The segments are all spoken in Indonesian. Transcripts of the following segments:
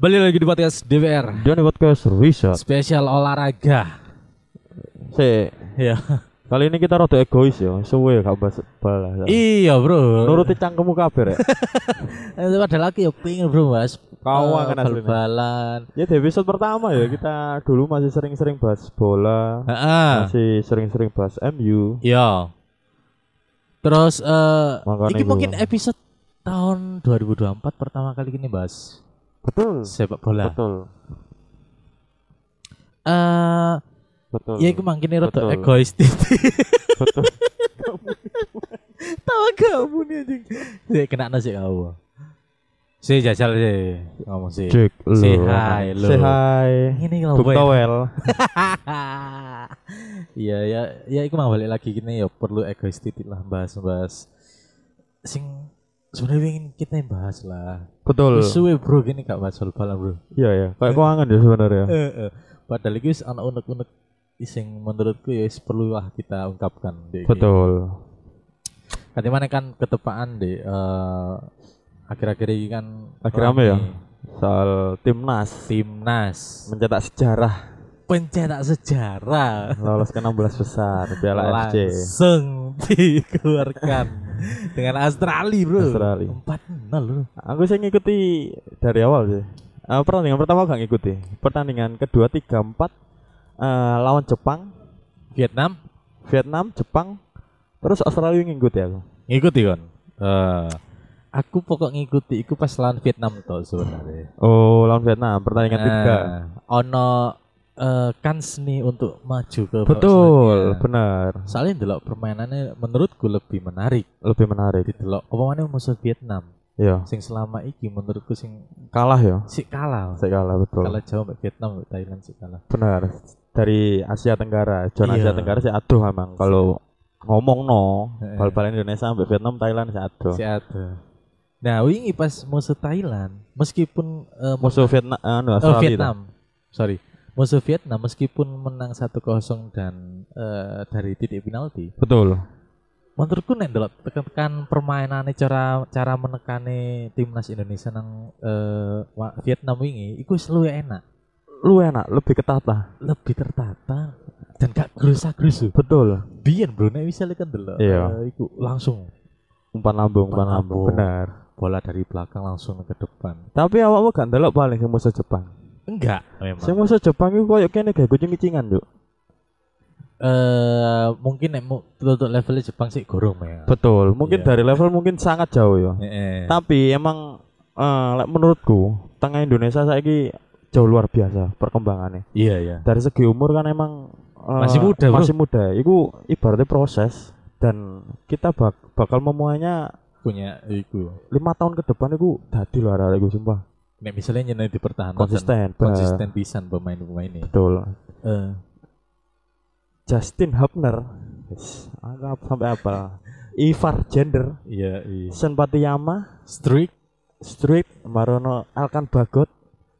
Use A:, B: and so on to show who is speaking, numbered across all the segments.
A: Balik lagi di podcast DPR
B: Dan buat ke riset.
A: Spesial olahraga
B: Si,
A: Iya
B: kali ini kita rada egois ya. Suwe gak bahas balas.
A: Iya bro
B: ya. Nuruti cangkemmu kabeh rek.
A: Eh, Ada lagi yang pengen bro mas Eh,
B: Kawan kan aslinya.
A: Bal-balan
B: ya di episode pertama ya kita dulu masih sering-sering bahas bola,
A: Heeh.
B: masih sering-sering bahas MU.
A: Iya Terus eh
B: Makanya
A: Ini
B: gua-
A: mungkin episode tahun 2024 pertama kali ini bahas
B: Betul.
A: sepak bola
B: Betul.
A: Eh
B: Betul.
A: Ya itu makin rada
B: Betul.
A: egois titik
B: betul.
A: Tawa kamu nih anjing Sih kena nasi kamu Sih jajal sih Ngomong sih
B: Jek lo.
A: Say hi, lo.
B: Say hi.
A: Ini kalau
B: Bung Towel.
A: Iya ya ya iku mau balik lagi gini ya perlu egois titik lah bahas-bahas sing sebenarnya ingin kita yang bahas lah.
B: Betul.
A: Wis Suwe bro gini gak bahas soal bola bro.
B: Iya ya, kayak keuangan ya sebenarnya.
A: Heeh. Padahal iki wis ana unek-unek sing menurutku ya wis perlu lah kita ungkapkan deh.
B: Betul.
A: Kadimana kan ketepaan deh eh, akhir-akhir ini kan
B: Akhir rame ya?
A: rame.
B: Soal timnas
A: Timnas
B: mencetak sejarah
A: pencetak sejarah.
B: lolos ke 16 besar Piala FC.
A: langsung dikeluarkan dengan Australia bro
B: Australia.
A: empat nol bro
B: Aku sih ngikuti dari awal sih. Eh, pertandingan pertama gak ngikuti. Pertandingan kedua tiga empat eh, lawan Jepang,
A: Vietnam
B: Vietnam, Jepang, terus Australia ngikuti aku.
A: ngikuti kon Eh, aku pokok ngikuti iku pas lawan Vietnam tuh sebenarnya
B: Oh lawan Vietnam pertandingan tiga.
A: Eh, ono eh, kans nih untuk maju ke babak
B: Betul,
A: selanjutnya.
B: benar.
A: soalnya delok permainannya menurutku lebih menarik
B: Lebih menarik.
A: delok apa mana musuh Vietnam
B: Iya,
A: sing selama iki menurutku sing
B: kalah ya.
A: si kalah
B: Saya kalah betul.
A: kalah jauh mbak Vietnam mbak Thailand si kalah
B: Benar. Dari Asia Tenggara, zona
A: Iya.
B: Asia Tenggara sih aduh emang kalau ngomong no
A: Heeh.
B: bal-balan Indonesia sampai Vietnam Thailand sih aduh.
A: Si ada. Nah, wingi pas musuh Thailand, meskipun eh, men-
B: Musuh Vietnam, anu,
A: eh,
B: Australia.
A: Vietnam, sorry, musuh Vietnam meskipun menang 1-0 dan eh, dari titik penalti,
B: Betul.
A: menurutku nek ndelok tekan-tekan permainannya cara cara menekani timnas Indonesia nang eh, wa- Vietnam wingi, iku wis luwih enak,
B: Lu enak, lebih ketata.
A: lebih tertata dan gak gerusa-gerusu.
B: Betul.
A: Biyen bro, nek misalnya kan ndelok
B: Iya.
A: eh, iku langsung
B: umpan lambung
A: Umpan
B: umpan lambung
A: lambung.
B: benar
A: bola dari belakang langsung ke depan.
B: tapi awakmu gak ndelok paling sing musuh Jepang
A: Enggak, memang.
B: sing musuh Jepang iku koyo kene gawe kucing kicingan yuk
A: eh mungkin nek mu- untuk levelnya Jepang sih gorong ya.
B: betul mungkin
A: Iya.
B: dari level mungkin sangat jauh ya
A: Heeh.
B: tapi emang eh, lek menurutku tengah Indonesia saiki jauh luar biasa perkembangannya
A: Iya iya.
B: dari segi umur kan emang eh,
A: Masih muda, bro.
B: masih muda itu ibaratnya proses dan kita bak- bakal memuanya
A: Punya iku.
B: lima tahun ke depan itu dadi loh arek iku sumpah
A: Nek misalnya nyenai di pertahanan
B: konsisten Eh.
A: kan
B: bener.
A: konsisten pisan pemain-pemain ini.
B: betul
A: Eh,
B: Justin Hubner Yes, apa sampai apa Ivar Gender
A: iya iya.
B: Senpatiyama
A: Streak.
B: Street Marono Alkan Bagot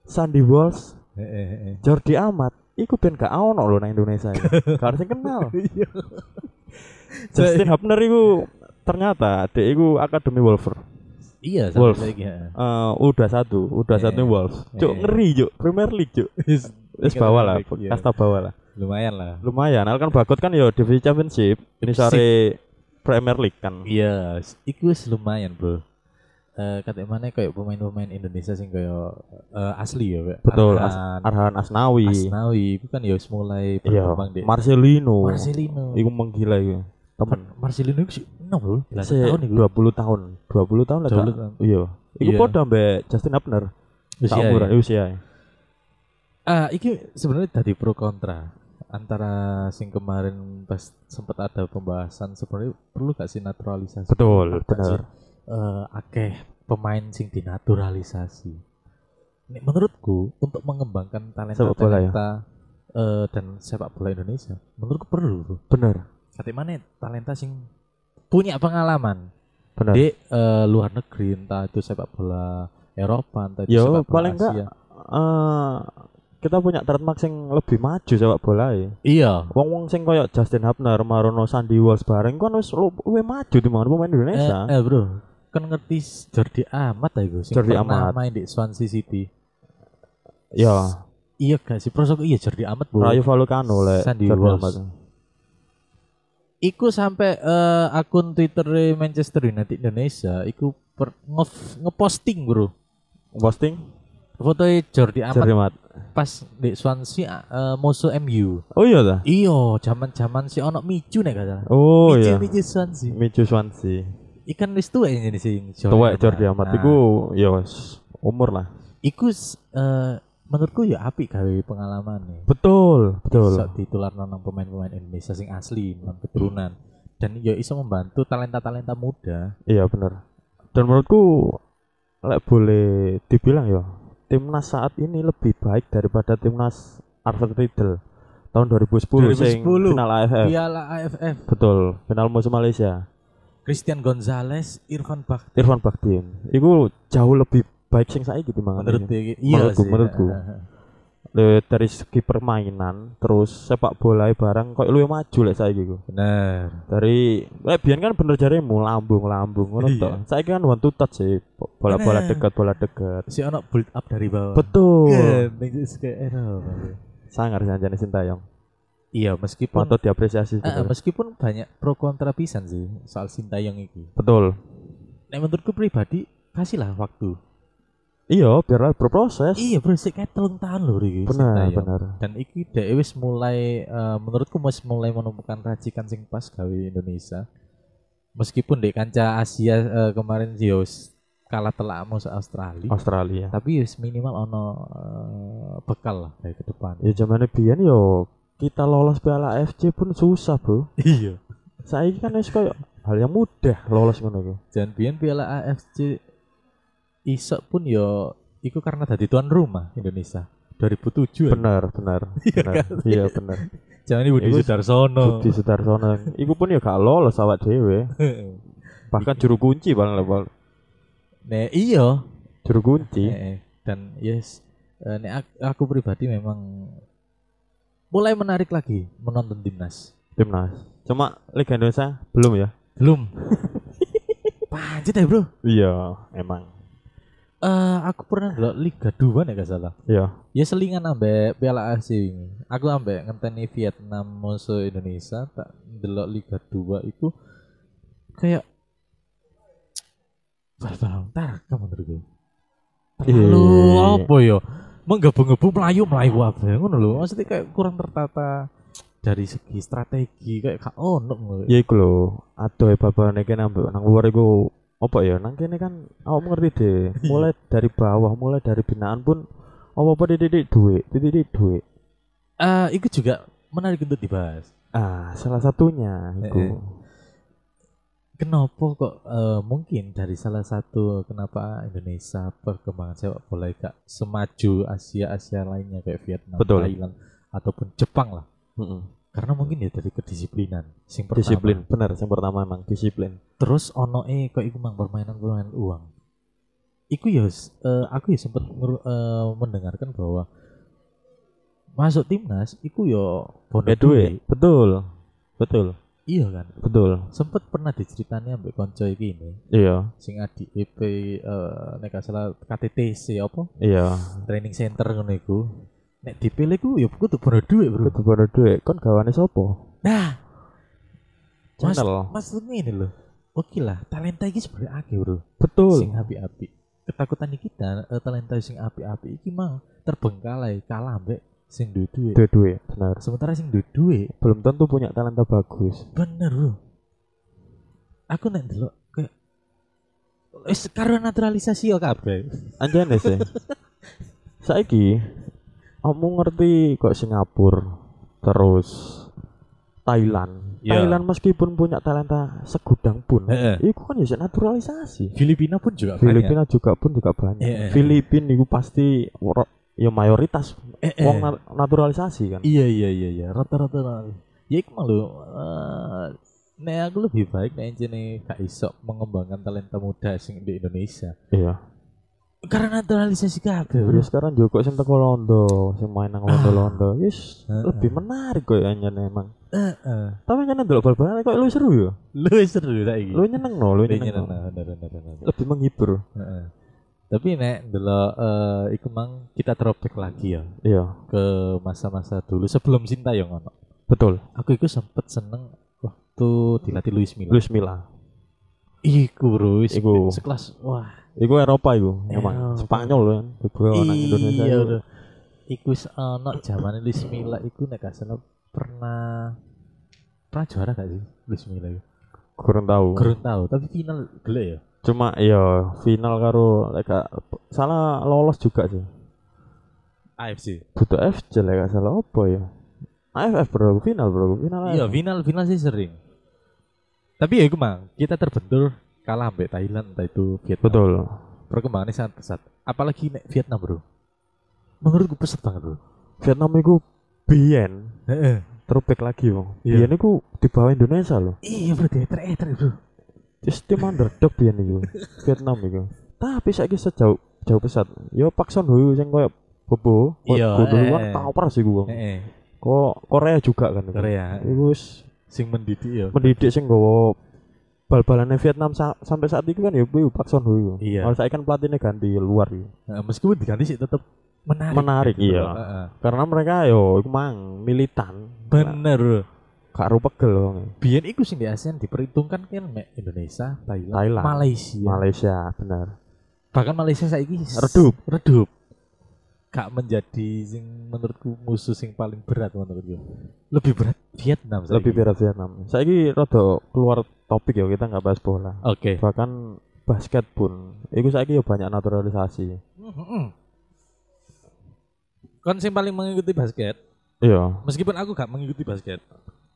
B: Sandy Walsh
A: Eh, Heeh.
B: Jordi Amat Iku ben gak ono lho nang Indonesia ini. Gak harus kenal
A: Iya.
B: Justin Hubner iku ternyata dia iku Akademi Wolver
A: Iya
B: Wolf.
A: sampai lagi ya.
B: Eh, udah satu udah
A: Eh.
B: satu Wolves cuk
A: Eh.
B: ngeri cuk Premier League cuk wis
A: Tingkat
B: bawah lah
A: Premier League, iya.
B: kasta bawah lah
A: Lumayan lah.
B: lumayan Alkan Bagot kan ya divisi Championship ini sore Premier League kan
A: Iya, s- iku wis lumayan, Bro. Eh kata mana kayak pemain-pemain Indonesia sing kayak eh, asli ya, kayak
B: Betul,
A: Arhan,
B: Arhan Asnawi
A: Asnawi, itu kan ya wis mulai
B: Iya,
A: berkembang di
B: Marcelino.
A: Marcelino.
B: Iku menggila iku. Iya, Temen.
A: Mar- Marcelino itu sih enam bro, belasan
B: Se-
A: tahun itu.
B: 20 tahun. 20 tahun lah. Kak. Iya. Iku
A: Iya.
B: podo mbek Justin Hubner.
A: Usia
B: Sak
A: ya.
B: umuran usia.
A: Ah, iki sebenarnya tadi pro kontra antara sing kemarin pas sempat ada pembahasan sebenarnya perlu gak sih naturalisasi?
B: Betul,
A: Apa sih, eh, akeh pemain sing dinaturalisasi. Nek menurutku untuk mengembangkan talenta
B: Sepak bola ya?
A: talenta eh, dan sepak bola Indonesia, menurutku perlu. bro.
B: Bener.
A: Kate mana talenta sing punya pengalaman
B: Bener.
A: di eh, luar negeri entah itu sepak bola Eropa entah itu
B: Yo,
A: sepak bola
B: paling
A: Asia.
B: enggak Eh, kita punya trademark sing lebih maju sepak bola ya.
A: iya
B: Wong-wong sing koyo Justin Hubner, Marono Sandy Walsh bareng kan wis lu- luwih maju timbang pemain
A: eh,
B: Indonesia.
A: eh, bro kan ngerti Jordi Amat ya gue
B: Jordi
A: pernah
B: Amat.
A: main di Swansea City
B: Ya,
A: Iya gak sih prosok iya Jordi amat bu.
B: Rayo Vallecano lek
A: Sandy
B: Jordi
A: Walsh.
B: Amat.
A: Iku sampai eh, akun Twitter Manchester United Indonesia, iku per, nge- ngeposting bro
B: Posting
A: foto Jordi amat
B: Jordi Amat.
A: pas di Swansea eh, musuh MU.
B: Oh iya ta?
A: Iyo, zaman zaman si ono micu nih kata.
B: Oh iya.
A: micu Swansea.
B: Micu Swansea.
A: Ikan wis tuwek ini sing Jordi
B: Tuwek Jordi
A: Nah,
B: Amat iku ya wis umur lah.
A: iku s- eh, menurutku ya apik gawe pengalaman nih.
B: Betul, betul.
A: Iso ditularno nang pemain-pemain Indonesia sing asli, nang keturunan. Dan ya iso membantu talenta-talenta muda.
B: Iya bener. Dan menurutku lek boleh dibilang ya, timnas saat ini lebih baik daripada timnas Arthur Riddle tahun 2010, sing
A: 2010.
B: final AFF.
A: Piala AFF,
B: Betul, final musim Malaysia.
A: Christian Gonzalez, Irfan Bakti.
B: Irfan Bakhtin. Iku jauh lebih baik sing saiki timbang
A: Menurut iya
B: Menurutku,
A: sih.
B: menurutku.
A: Heeh.
B: dari segi permainan, terus sepak bola barang kok luwih maju lek saiki iku.
A: Bener.
B: Dari lek biyen kan bener jarimu lambung-lambung ngono
A: Iya.
B: to. Saiki kan one to touch sih, bo- bola-bola
A: Bener.
B: dekat, bola dekat.
A: Si ono build up dari bawah.
B: Betul.
A: Kan, ning wis kayak, eh, no, Pak.
B: Sangar janjane Sintayong.
A: Iya, meskipun
B: Patut diapresiasi
A: Eh, eh,
B: bener.
A: meskipun banyak pro kontra pisan sih soal Sintayong iki.
B: Betul.
A: Nek menurutku pribadi kasihlah waktu.
B: Iya, biarlah berproses.
A: Iya, bro, sik kayak telung tahun lho iki.
B: Benar,
A: Sintayong.
B: benar.
A: Dan iki dhewe wis mulai eh, menurutku wis mulai menemukan racikan sing pas gawe Indonesia. Meskipun di kancah Asia eh, kemarin sih ya wis kalah telak sama Australia.
B: Australia.
A: Tapi ya wis minimal ono eh, bekal lah kayak ke depan.
B: Ya zamane biyen yo kita lolos Piala AFC pun susah, Bro.
A: Iya.
B: Saiki kan wis koyo hal yang mudah lolos ngono iku.
A: Dan biyen Piala AFC isok pun yo iku karena dadi tuan rumah Indonesia 2007. ya.
B: Benar, benar. benar.
A: kan? Oh.
B: Iya, benar.
A: Jangan ini Budi
B: Iku-
A: Sudarsono.
B: Budi Sudarsono. Iku pun ya gak lolos awak dhewe. Bahkan juru kunci paling level.
A: Nek iya.
B: Juru kunci.
A: Eh, eh. Dan yes, eh, nek ak- aku pribadi memang mulai menarik lagi menonton timnas.
B: Timnas. Cuma Liga Indonesia belum ya?
A: Belum. Panjat ya bro.
B: Iya, emang.
A: Eh, aku pernah ngelok Liga 2 nih gak salah.
B: Iya.
A: Ya selingan ambek Piala AFC ini. Aku ambek ngenteni Vietnam musuh Indonesia tak delok Liga 2 itu kayak bal-bal ntar kamu menurutku. Terlalu
B: Iya.
A: apa ya? Menggebu-gebu melayu melayu apa ya? Ngono lho. Maksudnya kayak kurang tertata dari segi strategi kayak kak ono ngono.
B: Ya iku lho, adoh babane kene nang nang luar iku apa ya? Nang kene kan awak ngerti deh. Mulai dari bawah, mulai dari binaan pun apa-apa dididik duit, dididik duit.
A: Eh, itu juga menarik untuk dibahas.
B: Ah, salah satunya iku.
A: Eh, eh. Kenapa kok eh, mungkin dari salah satu kenapa Indonesia perkembangan sepak bola gak semaju Asia Asia lainnya kayak Vietnam,
B: Betul.
A: Thailand ataupun Jepang lah.
B: Mm-mm.
A: Karena mungkin ya dari kedisiplinan. Sing pertama.
B: Disiplin, benar. Yang pertama emang disiplin.
A: Terus ono e kok iku mang permainan permainan uang. Iku ya s- eh, aku ya sempat mendengarkan bahwa masuk timnas iku ya bondo
B: Ya duit, betul. Betul.
A: Iya kan.
B: Betul.
A: Sempet pernah diceritanya ambek konco iki ini
B: Iya,
A: sing adi EP eh nek gak salah KTTC apa
B: iya.
A: training center ngono iku nek dipilih ku ya kudu bono duit bro
B: Kudu pada duit, kon gawane sopo?
A: nah Mas-
B: Channel.
A: maksudnya ini loh oke lah talenta iki sebenarnya akeh bro sing
B: Betul.
A: api-api ketakutan kita eh, talenta sing api-api iki mah terbengkalai kalah ambek sing duwe duit
B: Duit-duit, benar.
A: sementara sing duwe duit
B: Belum tentu punya talenta bagus.
A: bener bro aku nek delok kayak wis karo naturalisasi ya kabeh
B: Anjane sih. Saiki kamu ngerti kok Singapura terus Thailand.
A: Iya.
B: Thailand meskipun punya talenta segudang pun,
A: Heeh.
B: itu kan ya naturalisasi.
A: Filipina pun juga banyak
B: Filipina juga pun juga banyak.
A: Iya, iya, iya.
B: Filipina itu pasti wor- ya mayoritas
A: eh, eh.
B: wong na- naturalisasi kan.
A: Iya iya iya iya rata-rata lah. Ya iku malu. Eh, nek aku lebih baik nek jene gak iso mengembangkan talenta muda sing di Indonesia.
B: Iya.
A: Karena naturalisasi kabeh,
B: Ya sekarang Joko sing teko Londo, sing main nang Londo-Londo, wis
A: Heeh.
B: lebih menarik kok ya anjane emang.
A: Heeh.
B: Tapi kan ndelok bal-balan kok lu seru ya.
A: Eh, Lu seru saiki.
B: Lu nyeneng no, lu
A: Lu
B: nyeneng. no.
A: nah. nyeneng, bener, bener, bener.
B: Lebih menghibur.
A: Heeh. Tapi nek delok eh iku mang kita throwback lagi ya
B: Iya,
A: ke masa-masa dulu sebelum Sinta yang ono.
B: betul.
A: Aku iku sempet seneng waktu dilatih Luis Milla.
B: Luis Milla.
A: Iku Ruis,
B: Iku.
A: sekelas wah.
B: Iku Eropa iku, emang
A: Eropa.
B: Spanyol kan. Dibawa nang Indonesia.
A: Iya,
B: iku.
A: udah. Iku s- ono zaman Luis Milla iku nek gak salah pernah pernah juara gak sih Luis Milla iku?
B: Kurang tahu.
A: Kurang tahu, tapi final gele ya.
B: Cuma iya final karo lek gak- salah lolos juga sih.
A: AFC.
B: Butuh FC lek gak salah apa ya. AFF bro, final bro, final.
A: Iya,
B: AFF.
A: final final sih sering. Tapi ya iku mang, kita terbentur kalah ambek Thailand entah itu Vietnam.
B: Betul.
A: Perkembangannya sangat pesat. Apalagi nek Vietnam, Bro. Menurutku pesat banget, Bro.
B: Vietnam iku biyen terobek lagi wong.
A: Iya.
B: Biyen iku di bawah Indonesia loh.
A: Iya, Bro, dieter-eter, Bro.
B: Terus tim underdog biyen iku. Vietnam iku. Tapi saiki sejauh jauh pesat. Yo Park Son Hui sing koyo Bobo, koyo
A: Iya,
B: Dulu kan
A: eh.
B: tau pers iku wong.
A: Heeh,
B: Kok Korea juga kan. iku.
A: Korea
B: Iku wis
A: sing mendidik ya.
B: pendidik sing gowo bal-balannya Vietnam sa- sampai saat itu kan ya Bu Park Son Hui.
A: Iya.
B: Kalau saya kan pelatihnya ganti luar gitu.
A: Nah, meskipun diganti sih tetap menarik. gitu
B: Menarik
A: Bro.
B: iya.
A: Heeh.
B: Karena mereka yo iku mang militan.
A: Bener. Bro.
B: Kak pegel wong.
A: Biyen iku sing di ASEAN diperhitungkan kan mek Indonesia, Thailand,
B: Thailand.
A: Malaysia.
B: Malaysia benar.
A: Bahkan Malaysia saiki s-
B: Redup.
A: redup. Gak menjadi sing menurutku musuh sing paling berat menurutku. Lebih berat Vietnam saiki.
B: Lebih berat Vietnam. Saya ini rada keluar topik ya kita nggak bahas bola.
A: Oke.
B: Bahkan basket pun. Iku saya ya banyak naturalisasi.
A: Mm-mm. Kon sing paling mengikuti basket,
B: Iya.
A: meskipun aku gak mengikuti basket.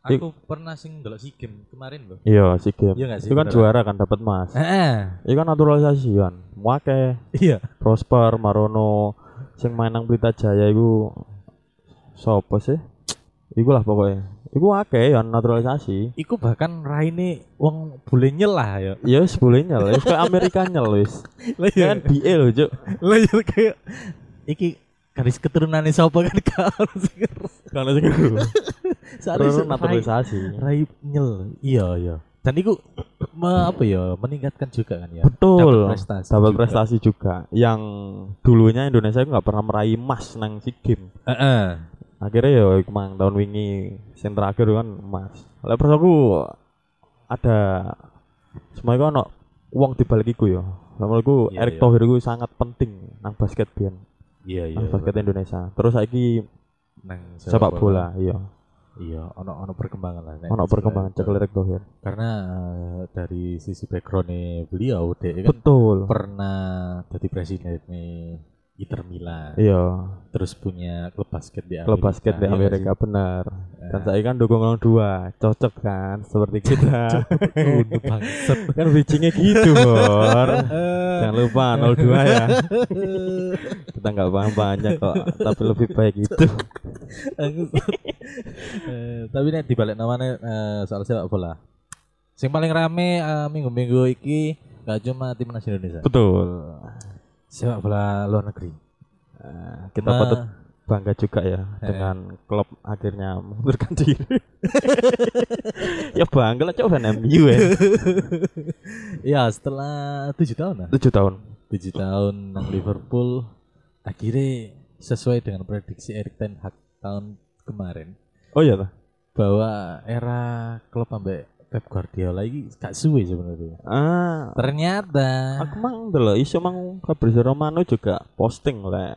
B: Ik-
A: Aku pernah sing delok SEA Games kemarin loh.
B: Iya, si game.
A: Iya Eh. nggak sih,
B: Itu kan
A: beneran?
B: juara kan dapat emas.
A: Heeh.
B: Iku kan naturalisasi kan. Mwake,
A: Iya.
B: Prosper, Marono, sing main nang Pelita Jaya iku sapa sih? Iku lah pokoknya. Iku akeh ya naturalisasi.
A: Iku bahkan raine wong bule nyelah ya. Iya
B: Ya wis boleh nyel, wis kayak Amerika nyel wis.
A: Lah
B: Ini Kan BA lho, Cuk.
A: Lah ya kayak iki garis keturunannya sapa kan gak harus ngerti.
B: Kalau sing iku.
A: Seharusnya
B: Terus
A: rai-
B: naturalisasi.
A: rai nyel. Iya, iya. Dan iku me- apa ya, meningkatkan juga kan ya.
B: Betul.
A: Dapat prestasi.
B: Dapat
A: juga.
B: prestasi juga. Yang dulunya Indonesia itu nggak pernah meraih emas nang SEA Games.
A: Heeh.
B: Akhirnya ya kemang tahun wingi sing terakhir kan emas. Lah terus aku ada semua itu ono uang di balik iku ya. Sama aku
A: Iya,
B: Erick
A: iya.
B: Thohir itu sangat penting nang basket biyen,
A: Iya, iya.
B: nang basket Indonesia. Terus saiki
A: Nang
B: sepak bola, iya.
A: Iya, ono ono perkembangan lah. Nek.
B: Ono perkembangan cekel Erick Thohir.
A: Karena eh, dari sisi backgroundnya beliau, dia kan
B: Betul.
A: pernah jadi presiden nih Inter Milan,
B: Iya,
A: terus punya klub basket di Amerika.
B: klub basket
A: Iya
B: di
A: nggak
B: Amerika
A: sih?
B: benar.
A: Ya.
B: Dan saya kan dukung orang dua, cocok kan seperti kita.
A: Gunung bangset.
B: kan bridgingnya gitu, Bor.
A: Eh, Nah.
B: Jangan lupa 02 ya. Kita nggak paham banyak kok, tapi lebih baik itu.
A: Eh, tapi nek dibalik namanya eh, soal sepak bola. Sing paling rame eh, minggu-minggu iki gak cuma timnas Indonesia.
B: Betul.
A: Sepak bola luar negeri.
B: Kita
A: Ma-
B: patut Eh, bangga juga ya
A: Eh.
B: dengan klub akhirnya mengundurkan diri. ya bangga lah coba MU ya.
A: Ya, setelah 7 tahun lah.
B: 7 tahun.
A: 7 tahun nang Liverpool akhirnya sesuai dengan prediksi Erik Ten Hag tahun kemarin
B: Oh iya lah.
A: bahwa era klub ambek Pep Guardiola ini gak suwe sebenarnya.
B: Ah,
A: Ternyata
B: aku mang dulu iso mang Fabrizio Romano juga posting lah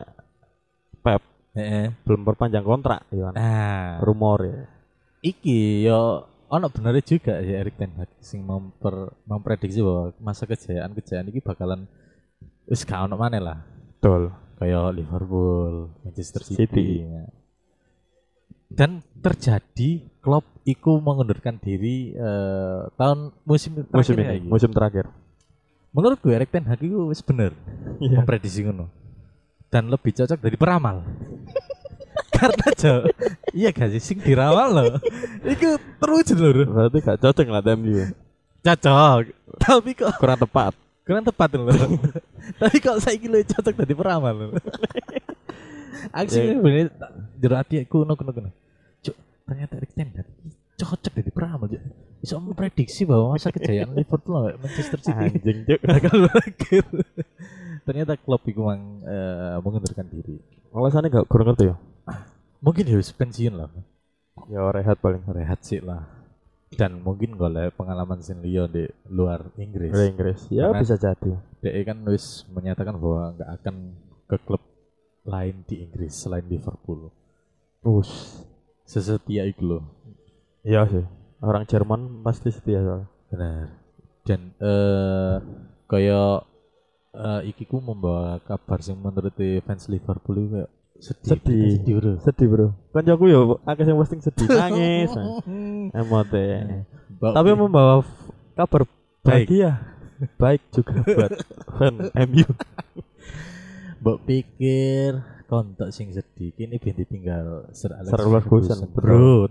A: Heeh.
B: belum perpanjang kontrak ya kan.
A: Eh, Nah,
B: rumor ya
A: iki yo ono bener juga ya Erik Ten Hag sing memper, memprediksi bahwa masa kejayaan-kejayaan ini bakalan wis gak ono maneh lah.
B: betul
A: kayak Liverpool, Manchester City.
B: City.
A: ya. Dan terjadi Klopp iku mengundurkan diri eh, tahun musim
B: musim
A: terakhir ya,
B: ini musim terakhir
A: Menurut gue Erik Ten Hag itu wis bener
B: Iya.
A: memprediksi ngono. Dan lebih cocok dari peramal. Karena Jo, iya gak sih sing diramal loh. Iku terwujud loh.
B: berarti gak cocok lah MU
A: Cocok. Tapi kok
B: kurang tepat
A: kurang tepat loh. Tapi kok saya kira cocok dari peramal loh. Aksi
B: Ya.
A: bener jero ati aku no kuno kuno. Cuk, ternyata Erik Ten Hag cocok dari peramal. Cuk. Bisa memprediksi bahwa masa kejayaan Liverpool lawan Manchester City
B: anjing cuk
A: bakal berakhir. ternyata klub iku mang eh, mengundurkan diri.
B: Alasannya gak kurang ngerti ya?
A: Mungkin ya wis pensiun lah,
B: Ya rehat paling.
A: rehat sih lah. Dan mungkin golek pengalaman sing liya di luar Inggris.
B: Dari Inggris. Ya
A: Karena-
B: bisa jadi.
A: DE kan wis menyatakan bahwa nggak akan ke klub lain di Inggris selain Liverpool.
B: Us.
A: Sesetia itu loh.
B: Iya sih. Orang Jerman pasti setia soalnya.
A: Benar. Dan eh kayak eh, iki ku membawa kabar sing menurut fans Liverpool itu kayak sedih.
B: Sedih.
A: Kita sedih bro.
B: Sedih bro. Kancaku ya, akeh yang posting sedih nangis. Emote.
A: Mbak-
B: Tapi membawa f- kabar
A: Baik.
B: bahagia. Baik juga buat fan MU.
A: mbok pikir kontak sing sedih kini ben ditinggal Sir Alex
B: Sir Alex Ferguson,
A: bro,
B: bro.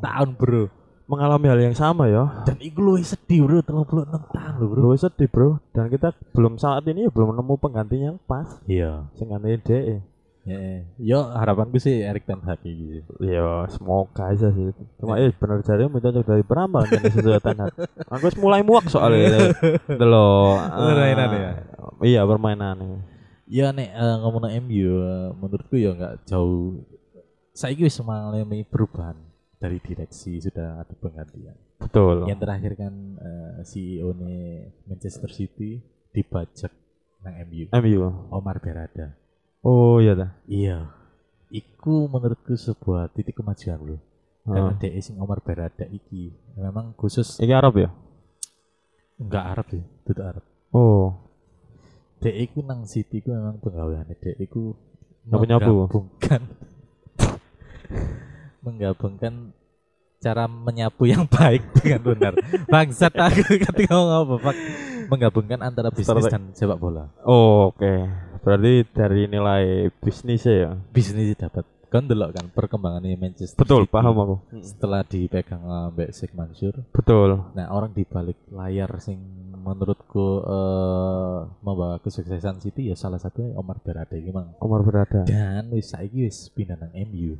A: 36 tahun bro
B: Mengalami hal yang sama ya.
A: dan iku luwih sedih bro 36 tahun lho bro
B: Lu sedih bro. Dan kita belum saat ini ya belum nemu penggantinya yang pas.
A: iya
B: Sing E. gantiin DE.
A: Ya, yo harapanku sih Erik Ten Hag gitu. iki.
B: Ya, semoga aja sih. Cuma eh bener jare mau cocok dari peramal kan sesuai tanah. Aku wis mulai muak soalnya delo.
A: Permainan ya?
B: Oh, Iya, permainan.
A: Ya nek eh, ngomong nang MU eh, menurutku ya nggak jauh. Saiki wis mengalami perubahan dari direksi sudah ada penggantian.
B: Betul.
A: Yang terakhir kan eh, CEO nya Manchester City dibajak nang MU.
B: MU.
A: Omar Berada.
B: Oh iya dah.
A: Iya. Iku menurutku sebuah titik kemajuan lho. Karena
B: Heeh.
A: DE sing Omar Berada iki memang khusus
B: Iki Ah. Arab ya?
A: nggak Arab sih, tidak Arab.
B: Oh,
A: DE ku nang City ku memang penggaweane DE ku
B: Nyapu-nyapu.
A: menggabungkan menggabungkan cara menyapu yang baik dengan benar bangsat aku ketika ngomong apa Pak. menggabungkan antara bisnis
B: Strategi.
A: dan sepak bola
B: oh oke. Berarti dari nilai bisnisnya ya.
A: bisnis dapat kan delok kan perkembangannya Manchester
B: Betul,
A: City.
B: paham aku.
A: setelah dipegang ambek Sheikh Mansur
B: Betul.
A: nah orang di balik layar sing menurutku eh, membawa kesuksesan City ya salah satunya Omar Berada ini mang
B: Omar berada.
A: dan wis saiki wis pindah nang MU.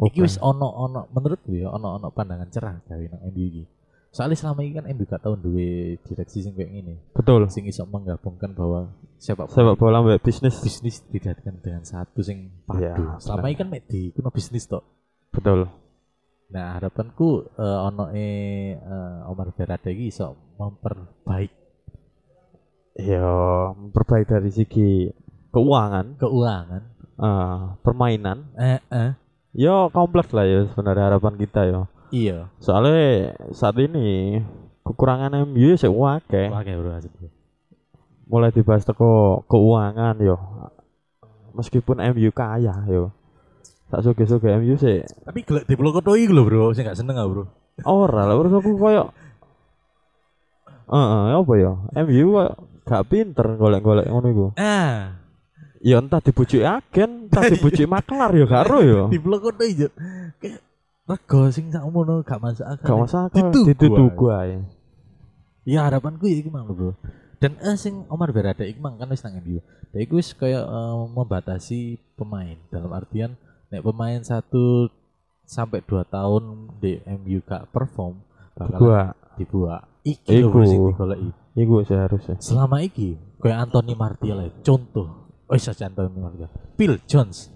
A: Iki
B: Oke.
A: wis ono ono menurutku ya ono ono pandangan cerah gawe nang MU iki. Soalnya selama ini kan MU gak tau duwe direksi sing kayak gini
B: Betul.
A: sing iso menggabungkan bahwa sepak bola
B: Sepak bola mbak bisnis.
A: bisnis dikaitkan dengan satu sing padu.
B: Iya,
A: selama ini kan mek di kuno bisnis tok.
B: Betul.
A: Nah, harapanku eh, ono e Omar Berada iki iso memperbaik
B: Ya, memperbaik dari segi keuangan,
A: keuangan.
B: eh, permainan,
A: Eh, eh.
B: Yo kompleks lah ya sebenarnya harapan kita yo.
A: Iya,
B: Soalnya saat ini kekurangan MU ya sih wake.
A: oke bro asik. bro.
B: Mulai dibahas teko keuangan yo. Meskipun MU kaya yo. Tak suge suge MU sih.
A: Tapi gelek diplokot iki lho, Bro. Saya gak seneng ah, Bro.
B: Ora lah urus aku koyo. Heeh, apa yo? MU kok gak pinter golek-golek ngono iku.
A: Ah,
B: Ya entah dibujuk agen, entah dibujuk makelar yo gak ero yo.
A: di blok kok ijo kayak rego sing sak mono gak masuk akal
B: Gak masalah kan
A: Ditugu
B: dituduh ae.
A: ya harapanku ya iku mang lho, bro dan eh sing Omar Berada iku mang kan wis nang MU dia iku wis kayak eh, membatasi pemain dalam artian nek pemain satu sampai dua tahun di MU gak perform bakal
B: Gua
A: dibuat iki lho bro
B: Iku.
A: sing digoleki
B: iku seharusnya.
A: selama iki kayak Anthony Martial ae, contoh Oh, iya, Anthony Martial. Phil Jones,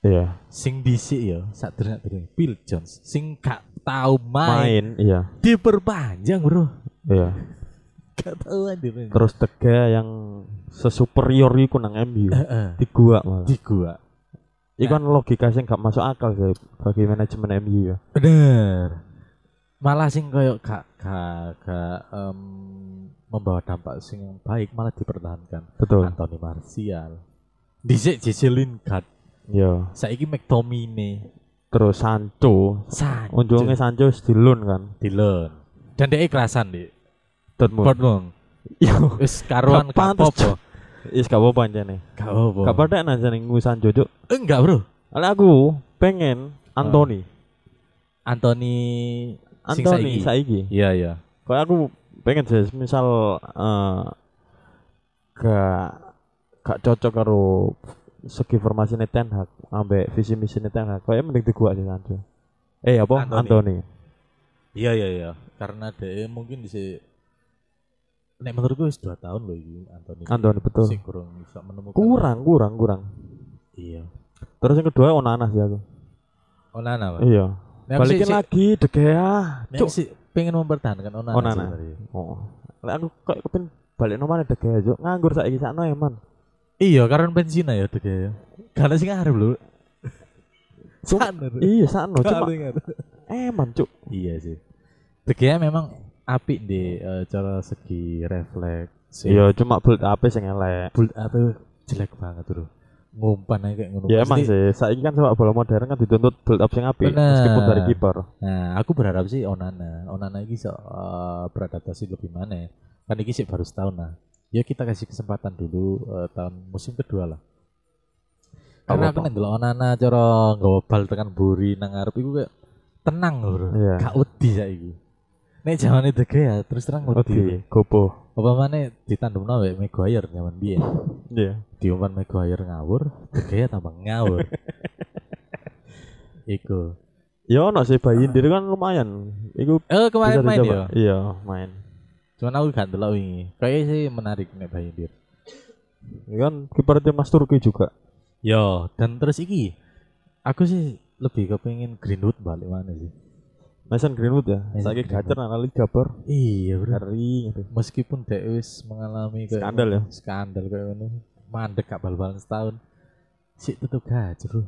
B: Iya.
A: sing dhisik ya sadurunge Bill Jones sing gak tau main,
B: main iya
A: diperpanjang bro
B: iya
A: gak tau anjir
B: terus tega yang sesuperior iku nang MU
A: heeh
B: di gua malah
A: di gua Nah.
B: iku kan logika sing gak masuk akal sih bagi manajemen MU ya
A: bener malah sing koyo gak gak gak em, membawa dampak sing yang baik malah dipertahankan
B: betul
A: Anthony Martial dhisik JC Lingard
B: iya
A: saiki McTominay
B: terus Sancho
A: Sancho
B: unjungnya Sancho wis dilun kan
A: Dillon dan dia kerasan di
B: Dortmund
A: Dortmund
B: yo
A: wis karuan
B: Gak
A: gak
B: pantes,
A: apa-apa
B: is gak apa-apa anjane
A: gak apa-apa
B: gak padha nang jane ngu Sancho cuk
A: enggak bro
B: Ale aku pengen Anthony
A: Anthony Sing
B: Anthony
A: saiki.
B: saiki
A: Iya iya.
B: Kayak aku pengen sih, misal eh gak gak cocok karo segi formasi Ten Hag ambek visi misi Ten Hag. Kayak mending di gua aja Sancho. Eh apa?
A: Anthony.
B: Anthony.
A: Iya iya iya. Karena DE mungkin bisa nek menurutku wis 2 tahun loh iki Anthony.
B: Anthony betul.
A: Sing kurang bisa menemukan.
B: Kurang, kurang, kurang.
A: Iya.
B: Terus yang kedua Onana sih aku.
A: Onana, Pak.
B: Iya.
A: Nek aku
B: Balikin
A: sih-
B: lagi De Gea.
A: Nek
B: Cuk.
A: sih pengen mempertahankan Onana. sih
B: Onana.
A: iya. sebenarnya.
B: Oh. Lek aku kok kepin balik nomane De Gea, Cuk. Nganggur saiki sakno ya, man.
A: Iya, karena bensin ya tuh ya. Karena sih ngarep lho. Kan,
B: Cuk.
A: Sana, Cuk.
B: Iya, sakno cuma
A: Sana, ngarep.
B: eman, Cuk.
A: Iya sih. De Gea memang apik di eh, cara segi refleks. sih.
B: Iya, cuma build up sing elek.
A: Build up itu jelek banget bro. Ngumpan aja kayak ngono.
B: Ya emang
A: Pasti-
B: sih, saiki kan sepak bola modern kan dituntut build up sing apik
A: Bener.
B: meskipun dari kiper.
A: Nah, aku berharap sih Onana. Onana ini bisa eh, beradaptasi lebih mana. Kan ini sih baru setahun lah. Ya kita kasih kesempatan dulu eh, tahun musim kedua lah. Karena aku
B: Apa-apa.
A: ndelok Onana cara nggawa bal tekan buri nang ngarep iku kayak tenang lho, Bro.
B: Iya.
A: Gak wedi saiki. Nek jamane De Gea terus terang wedi.
B: Oke, gopo.
A: Apa mana ditandemno wae Maguire zaman biyen.
B: Iya.
A: Diumpan Maguire ngawur, De Gea tambah ngawur. Iku.
B: Ya ono sih bayi diri kan lumayan. Iku
A: Eh kemarin
B: bisa
A: main
B: dicoba.
A: ya.
B: Iya, main.
A: Cuman aku gak ndelok wingi. Kayaknya sih menarik nek Bayindir.
B: Ini kan kiper timnas Turki juga.
A: Yo, dan terus iki aku sih lebih kepengin Greenwood balik mana sih?
B: Mason Greenwood ya.
A: Mason
B: Saiki
A: Greenwood.
B: gacor nang liga bor.
A: Iya, bro.
B: Ngeri, ngeri.
A: Meskipun dia wis mengalami kayak
B: Skandal ya.
A: skandal kayak ngono, mandek gak bal-balan setahun. Sik tetep gacor, bro.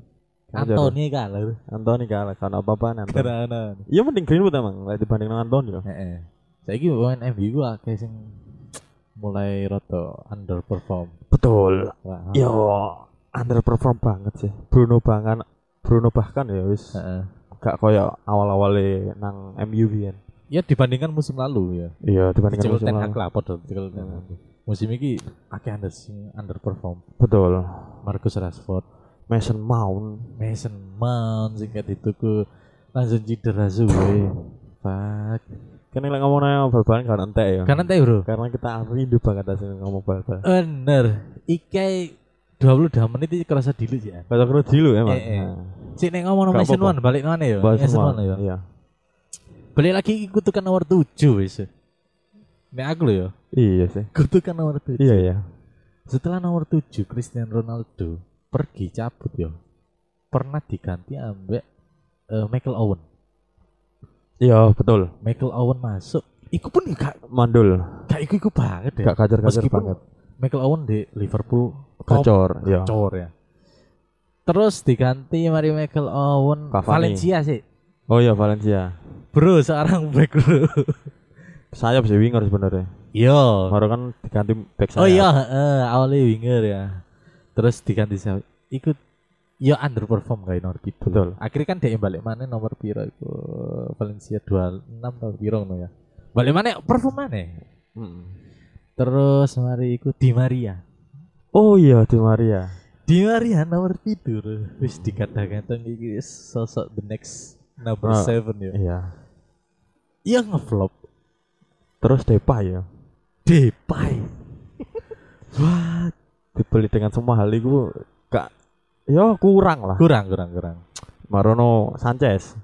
B: Gacor.
A: Antoni kalah, bro.
B: Antoni kalah karena apa-apaan Antoni.
A: Karena
B: Iya mending Greenwood emang lah dibanding dengan Antoni ya.
A: heeh. Saiki pemain MU gua kayak sing mulai roto underperform.
B: Betul.
A: Wah.
B: Ah. Yo underperform banget sih. Bruno bahkan Bruno bahkan ya wis
A: Heeh.
B: gak koyo awal-awale nang MU biyen.
A: Ya dibandingkan musim lalu ya.
B: Iya dibandingkan
A: Cekul
B: musim
A: Ten Hag
B: lalu.
A: lapor dong Cekul Ten Hag. Musim ini akeh under sing underperform.
B: Betul.
A: Marcus Rashford,
B: Mason Mount.
A: Mason Mount sing kat dituku langsung cedera suwe. Fuck.
B: Kan lek ngomongnya bal-balan gak entek ya.
A: Kanan teh, Bro.
B: Karena kita rindu banget asli ngomong bal-balan.
A: Bener. Iki 22 menit iki kerasa dilu sih. ya.
B: Kata kru dulu emang.
A: Eh, eh.
B: Nah,
A: Sik nek ngomong
B: Gak
A: Mason
B: apa-apa.
A: Mount balik mana ya?
B: bahas
A: Mason
B: semua.
A: Mount ya.
B: Iya.
A: Balik lagi iki kutukan nomor 7 wis. Nek aku lho ya,
B: Iya sih.
A: kutukan nomor 7.
B: Iya ya.
A: Setelah nomor 7 Cristiano Ronaldo pergi cabut ya. Pernah diganti ambek eh, Michael Owen.
B: Iya betul.
A: Michael Owen masuk. Iku pun gak
B: Mandul.
A: gak iku iku banget ya.
B: Gak kajar-kajar
A: Meskipun
B: banget.
A: Michael Owen di Liverpool
B: Gacor. Iya.
A: kacor ya. Terus diganti mari Michael Owen
B: Cavani.
A: Valencia sih.
B: Oh iya Valencia.
A: Bro, seorang back bro.
B: Sayap sih winger sebenarnya.
A: Yo.
B: Baru kan diganti back sayap.
A: Oh iya, heeh, awalnya winger ya. Terus diganti siapa? Ikut ya underperform kayak nomor gitu.
B: Betul.
A: Akhirnya kan dia balik mana nomor piro itu Valencia 26 atau piro no ya. Balik mana perform mana?
B: Mm.
A: Terus mari ikut Di Maria.
B: Oh iya Di Maria.
A: Di Maria nomor itu wis dikatakan iki wis sosok the next number
B: Ah.
A: seven ya.
B: Iya.
A: Iya ngeflop
B: Terus Depay ya.
A: Depay. Wah,
B: Dibeli dengan semua hal itu gak Ya kurang lah.
A: kurang kurang kurang.
B: Marono Sanchez.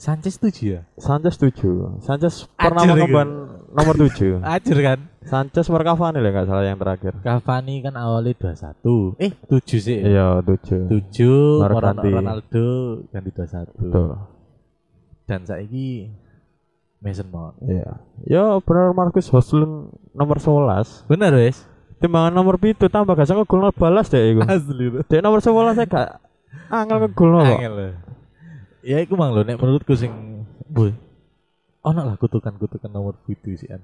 A: Sanchez tujuh ya?
B: Sanchez 7. Sanchez pernah
A: Ajir,
B: mengemban nomor 7.
A: Ajur kan?
B: Sanchez Marcavani lah gak salah yang terakhir.
A: Cavani kan awalnya 21 Eh 7 sih ya?
B: Iya, 7.
A: 7
B: Baru
A: Ronaldo,
B: ganti.
A: Ronaldo ganti 21
B: Betul.
A: Dan saiki Mason Mount
B: Iya. Ya bener Marcus Hoslund nomor 11.
A: Bener wes
B: Timbangan nomor pitu tambah gak sanggup gol balas deh iku.
A: Asli lu
B: Dek nomor 11 saya gak angel ngegolno kok.
A: Angel lu Ya iku mang lho nek menurutku sing Boy Ono lah kutukan-kutukan nomor pitu sih kan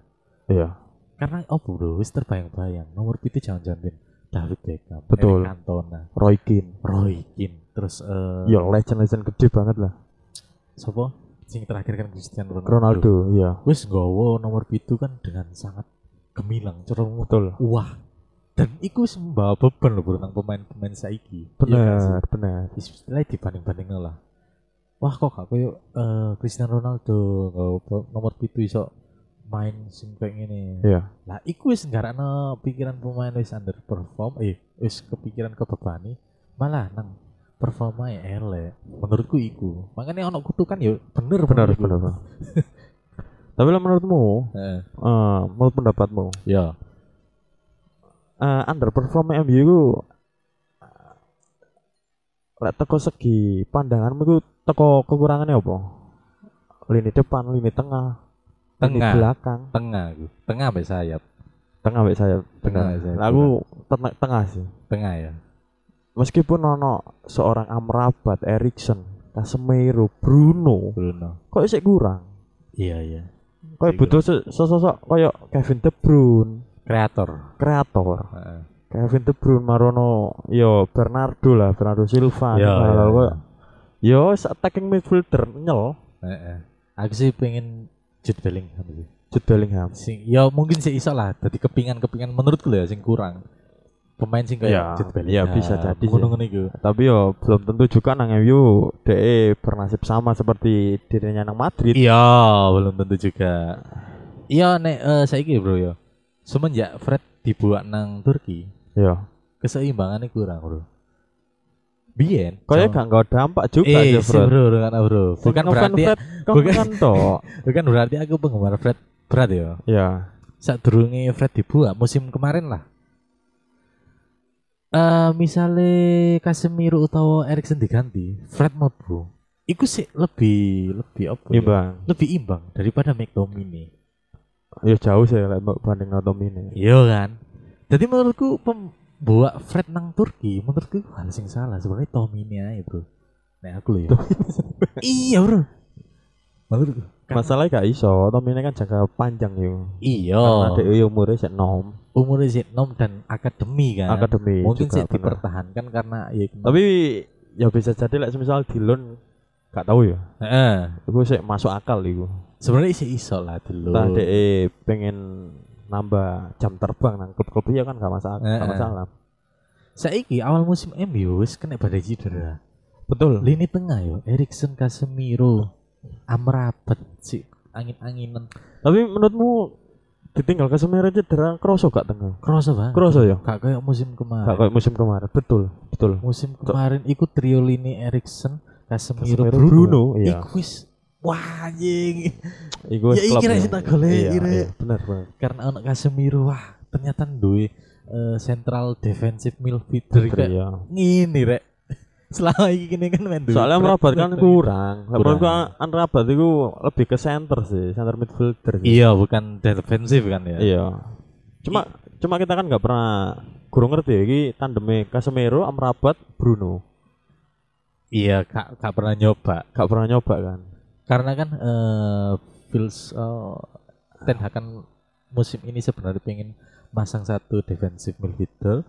B: Iya.
A: Karena opo bro wis terbayang-bayang Nomor pitu jangan-jangan Ben. David Beckham
B: Betul.
A: Eric Cantona
B: Roy Keane.
A: Roy Keane Terus eh
B: Ya legend-legend gede banget lah.
A: Sopo Sing terakhir kan Cristiano Ronaldo,
B: Ronaldo, iya.
A: wis nggawa nomor pitu kan dengan sangat gemilang cara ngomong,
B: Betul.
A: wah dan iku wis membawa beban loh bro nang pemain-pemain saiki Iya kan sih?
B: Benar, benar.
A: istilahnya dibanding-banding lah wah kok gak koyo eh, Cristiano Ronaldo nggawa po- nomor pitu iso main sing kayak ngene
B: Iya.
A: lah iku wis nggarakno pikiran pemain wis underperform eh wis kepikiran kebebani malah nang performa ya elek menurutku iku makanya ono kutukan ya bener
B: Benar,
A: menurutku.
B: benar. Tapi lah menurutmu,
A: Heeh.
B: eh, menurut pendapatmu,
A: Ya.
B: eh, underperform MU itu eh, lek teko segi pandanganmu itu teko kekurangannya apa? Lini depan, lini tengah, lini
A: Tengah.
B: belakang,
A: Tengah aku. Tengah sampai sayap.
B: tengah baik saya.
A: Tengah sampai sayap.
B: Lah aku Nah, tengah, tengah sih.
A: tengah ya.
B: Meskipun ono seorang Amrabat, Erikson, Casemiro, Bruno,
A: Bruno.
B: kok isih kurang?
A: Iya, iya.
B: Kok
A: Isih
B: butuh se- sosok koyo Kevin De Bruyne,
A: Kreator.
B: kreator.
A: Heeh.
B: Kevin De Bruyne Marono yo Bernardo lah Bernardo Silva
A: Iya,
B: nah,
A: iya,
B: lalu
A: iya.
B: kok, yo se- attacking midfielder nyel
A: Heeh. Aku sih pengen Jude Bellingham sih.
B: Jude Bellingham
A: Sing ya mungkin sih iso lah dadi kepingan-kepingan menurutku lho ya sing kurang. Pemain sing
B: Ya,
A: kayak Jude Nah, Bellingham.
B: ya, bisa jadi sih.
A: Ngono-ngono iku.
B: tapi yo belum tentu juga nang MU DE bernasib sama seperti dirinya nang Madrid
A: Iya, belum tentu juga. Iya nek eh, saiki bro ya. Semenjak Fred dibuat nang Turki,
B: yo
A: keseimbangannya kurang bro. Bien,
B: kaya ya gak nggak dampak juga
A: eh,
B: sih
A: sih,
B: bro
A: bro, kan bro. Bukan berarti bukan-
B: bukan toh
A: bukan berarti aku penggemar Fred berat ya.
B: ya
A: Saat Fred dibuat musim kemarin lah. Eh misalnya Casemiro atau Erikson diganti, Fred bro. Iku sih lebih lebih apa? ya?
B: imbang
A: Lebih imbang daripada McTominay.
B: yo Ya, jauh sih lek mbok banding Tom ini
A: Iya kan. Jadi menurutku pembuat Fred nang Turki, menurutku itu hal sing salah. Sebenarnya Tommy ini aja bro. Nah aku loh ya. iya bro. Menurutku. Kan-
B: masalahnya gak iso Tom ini kan jangka panjang yo
A: iya.
B: karena DE umurnya sih nom
A: Umurnya sih nom dan akademi kan.
B: akademi
A: Mungkin
B: juga,
A: sih
B: bener.
A: dipertahankan karena ya.
B: tapi ya bisa jadi lah misal di loan gak tahu ya
A: Heeh.
B: itu sih masuk akal itu
A: sebenarnya sih iso lah dulu.
B: entah DE pengen nambah jam terbang nang klub-klub iya kan gak masalah
A: Eh,
B: gak
A: eh.
B: masalah
A: Saiki awal musim MU wis kena badai cedera.
B: betul
A: Lini tengah yo, Erikson Casemiro, Amrabat sih angin-anginan.
B: tapi menurutmu ditinggal Casemiro cedera kroso gak tengah
A: Kroso banget.
B: kroso ya
A: Gak kayak musim kemarin.
B: gak kayak musim kemarin betul betul
A: musim kemarin ikut trio lini Erikson, Casemiro,
B: Casemiro,
A: Bruno.
B: Bruno, iya.
A: Iku wis wah anjing.
B: Iku
A: Ya,
B: klub
A: iki lah
B: ya.
A: sing tak golek,
B: Iya,
A: iki lah.
B: iya, bener bener
A: Karena anak Casemiro wah ternyata duwe eh, central defensive midfielder kayak
B: iya
A: ngini rek. Selama ini gini kan main duwe
B: soalnya
A: Fred,
B: merabat
A: Fred,
B: kan
A: Fred.
B: kurang
A: Kurang.
B: merabat kan merabat itu lebih ke center sih center midfielder sih.
A: Iya, bukan defensif kan ya.
B: gitu. Iya. Cuma cuma kita kan nggak pernah kurang ngerti ya, iki tandemnya Casemiro Amrabat Bruno.
A: Iya, kak, kak pernah nyoba.
B: Gak pernah nyoba kan.
A: Karena kan eh Fils eh, Ten Hag kan musim ini sebenarnya pengen masang satu defensive midfielder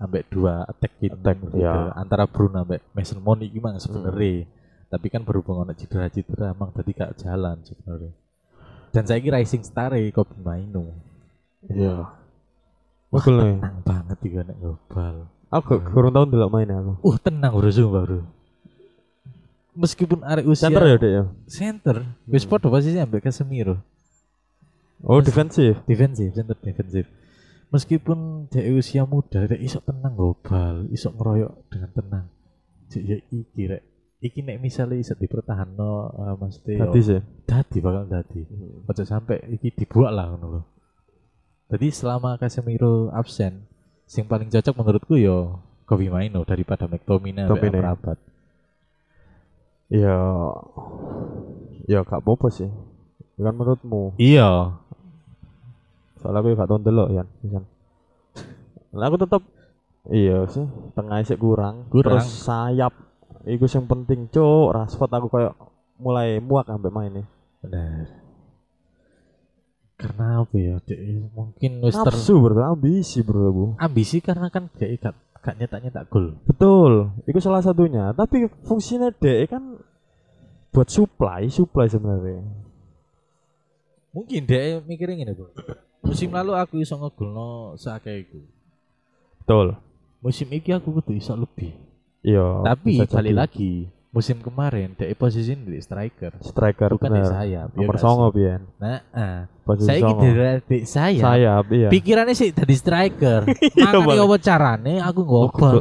A: ambek dua attacking
B: Attack,
A: midfielder
B: ya.
A: antara Bruno ambek Mason Mount iki mang sebenarnya.
B: Hmm.
A: Tapi kan berhubung ono cedera-cedera emang tadi gak jalan sebenarnya. Dan saya kira rising star e Kobe Mainu.
B: Iya. Betul nih.
A: Tenang banget iki nek global.
B: Aku gak- kurang tahun dulu main aku.
A: Uh, tenang bro sumpah bro. Meskipun arek usia
B: Center ya dek ya.
A: center wis padha posisinya ambek Casemiro.
B: Oh
A: Terus-
B: defensif.
A: defensif center defensif meskipun dari usia muda dia iso tenang global iso ngeroyok dengan tenang Cek ya iki rek iki nek misalnya iso dipertahanno uh, mesti yo-
B: Tadi sih.
A: dadi Hmm. bakal dadi ojo sampai iki dibuat lah ngono lho jadi selama Casemiro absen sing paling cocok menurutku yo Kobe Maino daripada McTominay ambek
B: McTominay.
A: Amrabat
B: Iya. Ya gak apa-apa sih. Ya Kan menurutmu.
A: iya
B: Soalnya aku gak tahun dulu ya. Pisan. Nah, aku tetap iya sih. Tengah sih kurang.
A: Kurang.
B: Terus sayap. Iku yang penting cuk. Rashford aku kayak mulai muak sampai mainnya.
A: benar karena apa ya dia mungkin wis ter-
B: Nafsu bro, ambisi bro aku.
A: ambisi karena kan dia gak, gak nyetak nyetak gol
B: Betul, itu salah satunya. Tapi fungsinya DE kan buat supply, supply sebenarnya.
A: mungkin dia mikirnya gini bro musim lalu aku iso ngegol no seakeh iku
B: Betul.
A: musim ini aku kudu iso lebih
B: Iya.
A: tapi
B: bisa jadi.
A: balik lagi musim kemarin dia posisi di striker
B: striker
A: bukan di
B: bener.
A: sayap ya
B: Nomor
A: gak
B: songo
A: sih?
B: pian.
A: nah ah.
B: Posisi
A: saya ini
B: songo.
A: dari saya
B: Sayap, iya.
A: pikirannya sih dari striker
B: Iya,
A: makanya
B: balik.
A: apa carane aku
B: Ngegol.
A: ngobol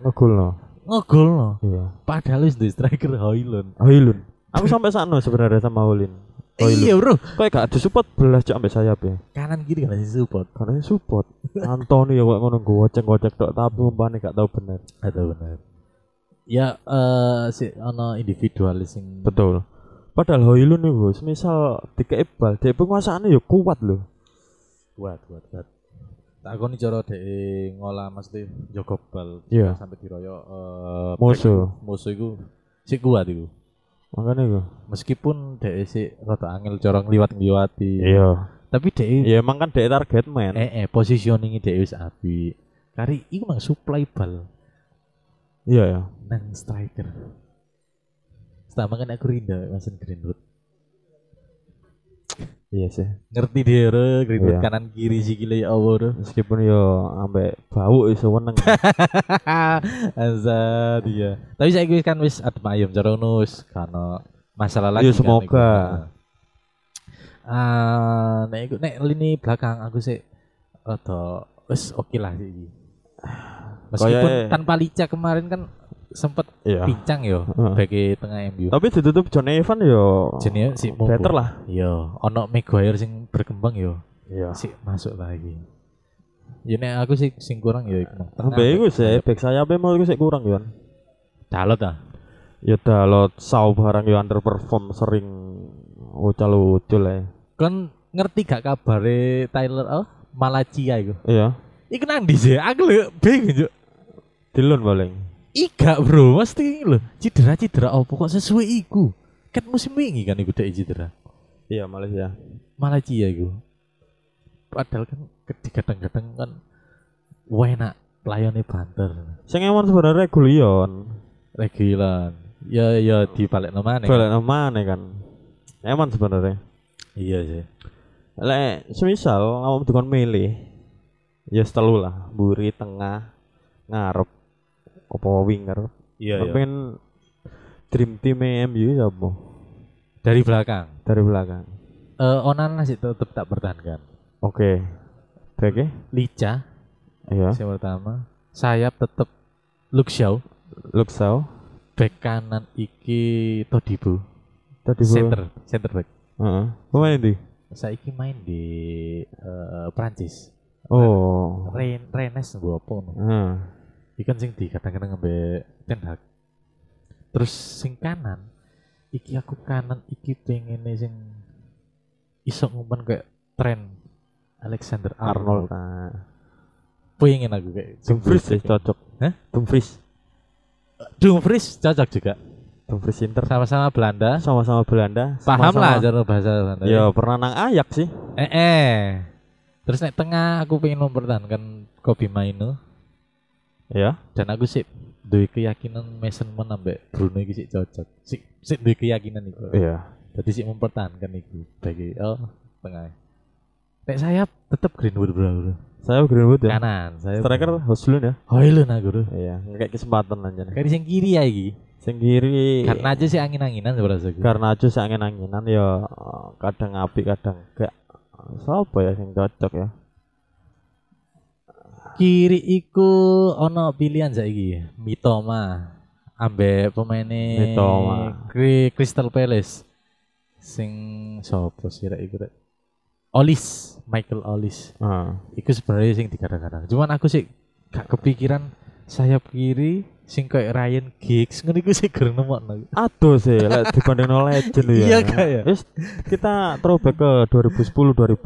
B: Ngegul no.
A: ngegol no
B: Iya.
A: padahal wis di striker Hoylund
B: Hoylun. Aku sampai sana sebenarnya sama Holin. Oh,
A: iya
B: iya.
A: bro
B: Kok gak ada support belas cok ambek sayap ya.
A: kanan kiri gak ngasih support
B: Karena ya support. Anthony ya kok ngono gocek-gocek tok tapi umpane gak tau bener.
A: atau benar ya eh si ono individualis sing
B: Betul. Padahal Hoylun nih bos, misal dikei bal, dia penguasaannya ya kuat loh.
A: kuat kuat kuat tak koni cara dhek ngolah mesti jaga bal
B: Iya.
A: sampai diroyok eh,
B: Musuh.
A: back musuh iku sik kuat iku
B: Makanya gue.
A: meskipun dhek sik rada angel cara ngliwat ngliwati
B: Iya.
A: tapi dhek
B: Ya emang kan dia target man.
A: eh eh positioning dhek wis apik kari iku mang supply bal
B: Iya ya.
A: nang striker Pertama kan aku rindu Mason Greenwood
B: Iya sih.
A: Ngerti dia re, Greenwood
B: Iya.
A: kanan kiri sikile ya Allah re.
B: Meskipun yo ambek bau ya iso weneng.
A: Azad iya. Tapi saya gue kan wis admayem cara ngono wis kano masalah lagi.
B: Iya,
A: kan,
B: semoga.
A: iku. Ah, nek iku nek lini belakang aku sih rada wis oke lah iki. Meskipun
B: Kayak-
A: tanpa lica kemarin kan sempet
B: Iya.
A: pincang yo
B: Heeh.
A: bagi tengah MU.
B: Tapi ditutup John Evan yo.
A: Jenenge si Mobo.
B: Better lah.
A: Yo, ono Maguire sing berkembang yo.
B: Iya.
A: Sik masuk lagi. Ya nek aku sih sing kurang yo iku.
B: Ambek iku sih back sayapnya mau iku sih kurang yo.
A: Dalot ah.
B: Ya dalot saw barang yo underperform sering ucal-ucul ya.
A: kon ngerti gak kabare Tyler oh Malacia iku
B: Iya.
A: iku nang ndi sih aku lho bingung juk
B: Dilun paling.
A: iga bro mesti lho cedera cedera opo kok sesuai iku kan musim wingi kan iku dek cedera
B: Iya Malaysia.
A: Malacia iku padahal kan kadang-kadang kan enak layone banter
B: Sing emang sebenarnya Gulion.
A: regilan ya ya di balik nama
B: Balik mana kan? Eman sebenarnya.
A: iya sih
B: Lek semisal awam dikon milih, ya setelu lah, buri tengah ngarep opo winger.
A: iya
B: Aku Pengen dream team e MU sapa?
A: dari belakang
B: ya Dari belakang.
A: eh Onana sih tetep tak pertahankan
B: Oke. Oke.
A: Lica
B: Iya.
A: yang pertama sayap tetep Luxiao
B: Look so.
A: back kanan iki Todibo
B: Tadi bu-
A: center center back
B: Heeh. Pemain di.
A: saiki main di eh, Prancis
B: Oh. Hmm.
A: Ren Rennes mbok apa ngono
B: Heeh.
A: iki kan sing di kadang-kadang ambek Ten Hag terus sing kanan iki aku kanan iki pengen sing iso ngumpan kayak tren Alexander
B: Arnold.
A: Arnold, pengen aku kayak
B: Dumfries sih Nah. cocok.
A: Hah?
B: Dumfries.
A: Dumfries cocok juga
B: Dumfries Inter.
A: sama-sama Belanda
B: Sama-sama Belanda.
A: paham lah
B: sama-sama-
A: cara bahasa Belanda
B: Ya pernah nang ayak sih.
A: Eh, eh. Terus naik tengah aku pengen mempertahankan Kobe Maino
B: Ya.
A: dan aku sih duwe keyakinan Mason Mount ambek Bruno iki sih cocok. Sik sik duwe keyakinan iku.
B: Iya.
A: Jadi sih mempertahankan iku bagi oh tengah. Nek sayap tetep Greenwood bro. bro.
B: Saya Greenwood ya.
A: Kanan saya.
B: Striker Hoslun ya.
A: Hoylun aku bro.
B: Iya, kayak kesempatan aja nih.
A: Kari sing kiri ya iki.
B: Sing kiri
A: Karena aja sih angin-anginan sebenarnya. aku.
B: Iya. karena aja sing angin-anginan ya eh, kadang api kadang enggak. Siapa ya sing cocok ya?
A: Kiri iku ono pilihan saiki Mitoma ambek pemainnya
B: Mitoma.
A: Kri- Crystal Palace sing sapa sih rek iku rek Olis Michael Olis
B: Heeh.
A: iku sebenarnya sing dikadang-kadang cuman aku sih gak kepikiran sayap kiri sing kayak Ryan Giggs ngono iku sih gur nemokno
B: Aduh sih, lek dibanding no legend ya.
A: Iya, gak ya?
B: Wis kita throwback ke 2010 2008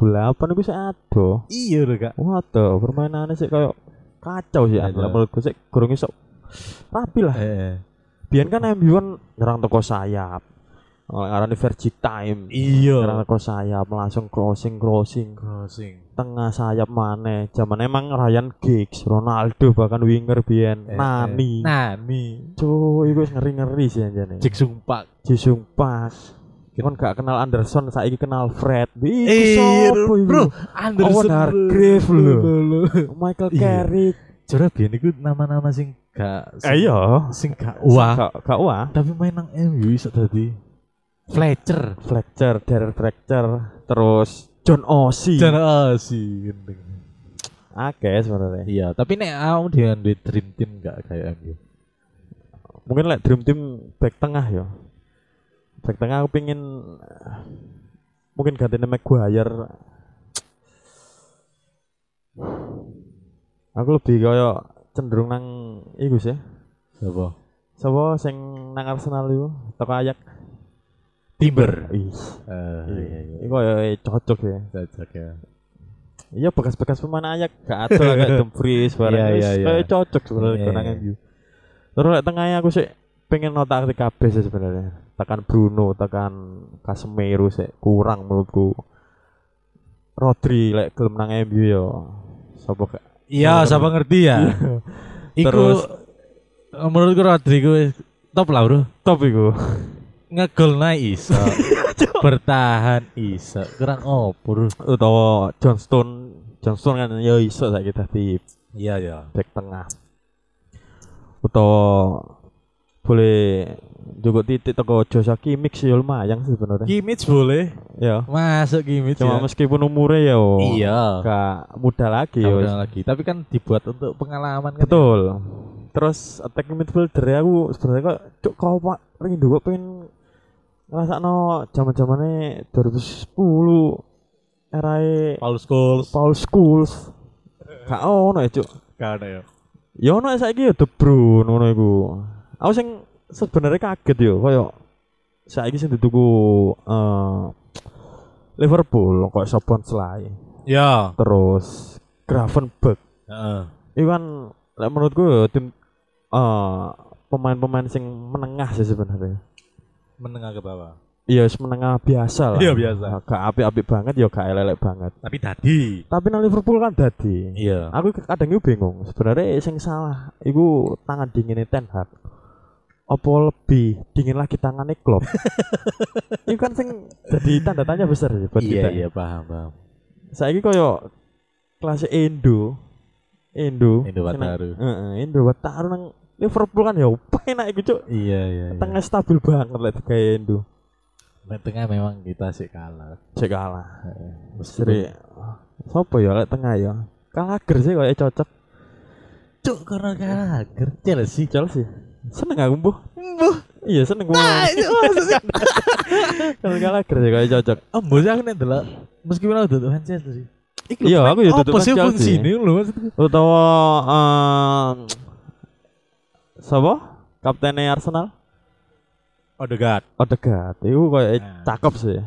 B: iku sih aduh.
A: iya lho kak
B: Waduh, permainannya sih kayak kacau sih
A: Kacau.
B: Aduh, menurutku sih kurang iso rapi lah.
A: eh,
B: Biyen kan MU kan nyerang teko sayap. Oh, Ngarani Vergi Time. Nyerang
A: iya
B: teko sayap langsung crossing crossing.
A: crossing
B: tengah sayap mana zaman emang Ryan Giggs Ronaldo bahkan winger biyen
A: Eh, eh.
B: Nani
A: Nani
B: cuy itu ngeri ngeri sih anjane
A: Jigsung Park
B: Jisung pas kan gak kenal Anderson saiki kenal Fred
A: Eh,
B: Ih, iku sopo iku?
A: bro, Anderson
B: Owen Hargreave lho.
A: lho.
B: Michael
A: Iya.
B: Carrick
A: Jora biyen iku nama-nama sing gak sing,
B: iya
A: Ah, sing gak Eh, wah,
B: wah gak wah
A: tapi main nang MU iso dadi Fletcher.
B: Fletcher Darren Fletcher terus John Osi
A: Cara asih gendeng.
B: oke sebenarnya
A: Iya, tapi nek aku dia duwe dream team gak kayak MU.
B: mungkin like dream team back tengah ya back tengah aku pingin mungkin gantinya Maguire aku lebih kaya cenderung nang iku sih
A: Apa?
B: sapa sing nang Arsenal iku toko ayak
A: Timber.
B: ih
A: Eh, iya, iya.
B: iku kaya cocok ya
A: Cocok ya.
B: iya bekas-bekas pemain ayak gak ada gak Dumfries bareng
A: Iya,
B: Wis
A: iya, iya.
B: kaya cocok sebenarnya
A: Iya,
B: yeah. nang
A: iya.
B: MU terus lek tengahnya aku sih pengen nota arti kabeh sih sebenarnya tekan Bruno tekan Casemiro sih kurang menurutku Rodri lek gelem nang MU yo sapa gak
A: Iya,
B: Terus-
A: siapa ngerti ya? Iku
B: Terus-
A: eh, menurutku Rodrigo top lah, Bro.
B: top iku
A: Ngegol iso. Iya, Bertahan iso. Kurang opo, Bro?
B: utawa Johnstone Johnstone kan ya iso saiki dadi
A: Iya, iya.
B: back tengah utawa boleh juga titik teko Joshua Kimmich sih lumayan sih sebenarnya
A: Kimmich boleh.
B: ya
A: Masuk Kimmich.
B: cuma
A: ya.
B: meskipun umurnya ya
A: Iya.
B: gak muda lagi
A: Tahu
B: ya
A: kenal lagi. Tapi kan dibuat untuk pengalaman kan.
B: betul terus attacking midfielder ya, aku sebenarnya kok cuk kau pak rindu kok pengen ngerasa no zaman zamannya 2010 era
A: Paul Scholes.
B: Paul Scholes gak ono ya cuk
A: Kan ya.
B: Ya ono saiki ya De Bruyne ngono iku. Aku sing sebenarnya kaget yo kaya saiki sing dituku eh Liverpool kok Sobon Slay.
A: Ya.
B: Terus Gravenberg.
A: Heeh.
B: Iku kan lek menurutku ya tim eh pemain-pemain sing menengah sih sebenarnya.
A: Menengah ke bawah.
B: Iya, wis menengah biasa lah. Nah,
A: Iya, biasa.
B: Gak apik-apik banget ya gak elek banget.
A: Tapi tadi.
B: Tapi nang Liverpool kan dadi.
A: Iya.
B: aku kadang itu bingung sebenarnya sing salah iku tangan dinginnya Ten Hag apa lebih dingin lagi tangannya Klopp itu kan sing jadi tanda tanya besar ya buat
A: Iya,
B: kita
A: iya paham, paham.
B: saya ini koyo kelas Indo Indo
A: Indo
B: Seneng-
A: Wataru.
B: Heeh, Indo Wataru nang Liverpool kan ya penak iku cuk
A: Iya, iya. iya.
B: tengah stabil banget lah kayak Indo
A: Lek tengah memang kita sih kalah.
B: cek kalah
A: Meskipun-
B: seri sopo ya lek tengah ya Kalager sih kayak cocok
A: Cuk karena kalah. Gercel sih.
B: Chelsea seneng aku mbuh
A: Embuh.
B: iya seneng gua
A: Ah,
B: kalau kalah kerja kayak cocok
A: Embuh sih aku nek delok meskipun aku duduk Manchester sih. Iku
B: Iya, aku ya duduk
A: Apa sih
B: Chelsea.
A: fungsine lho maksudku?
B: utawa em, sapa kaptennya Arsenal
A: Odegaard.
B: Odegaard itu kayak
A: Nah.
B: cakep sih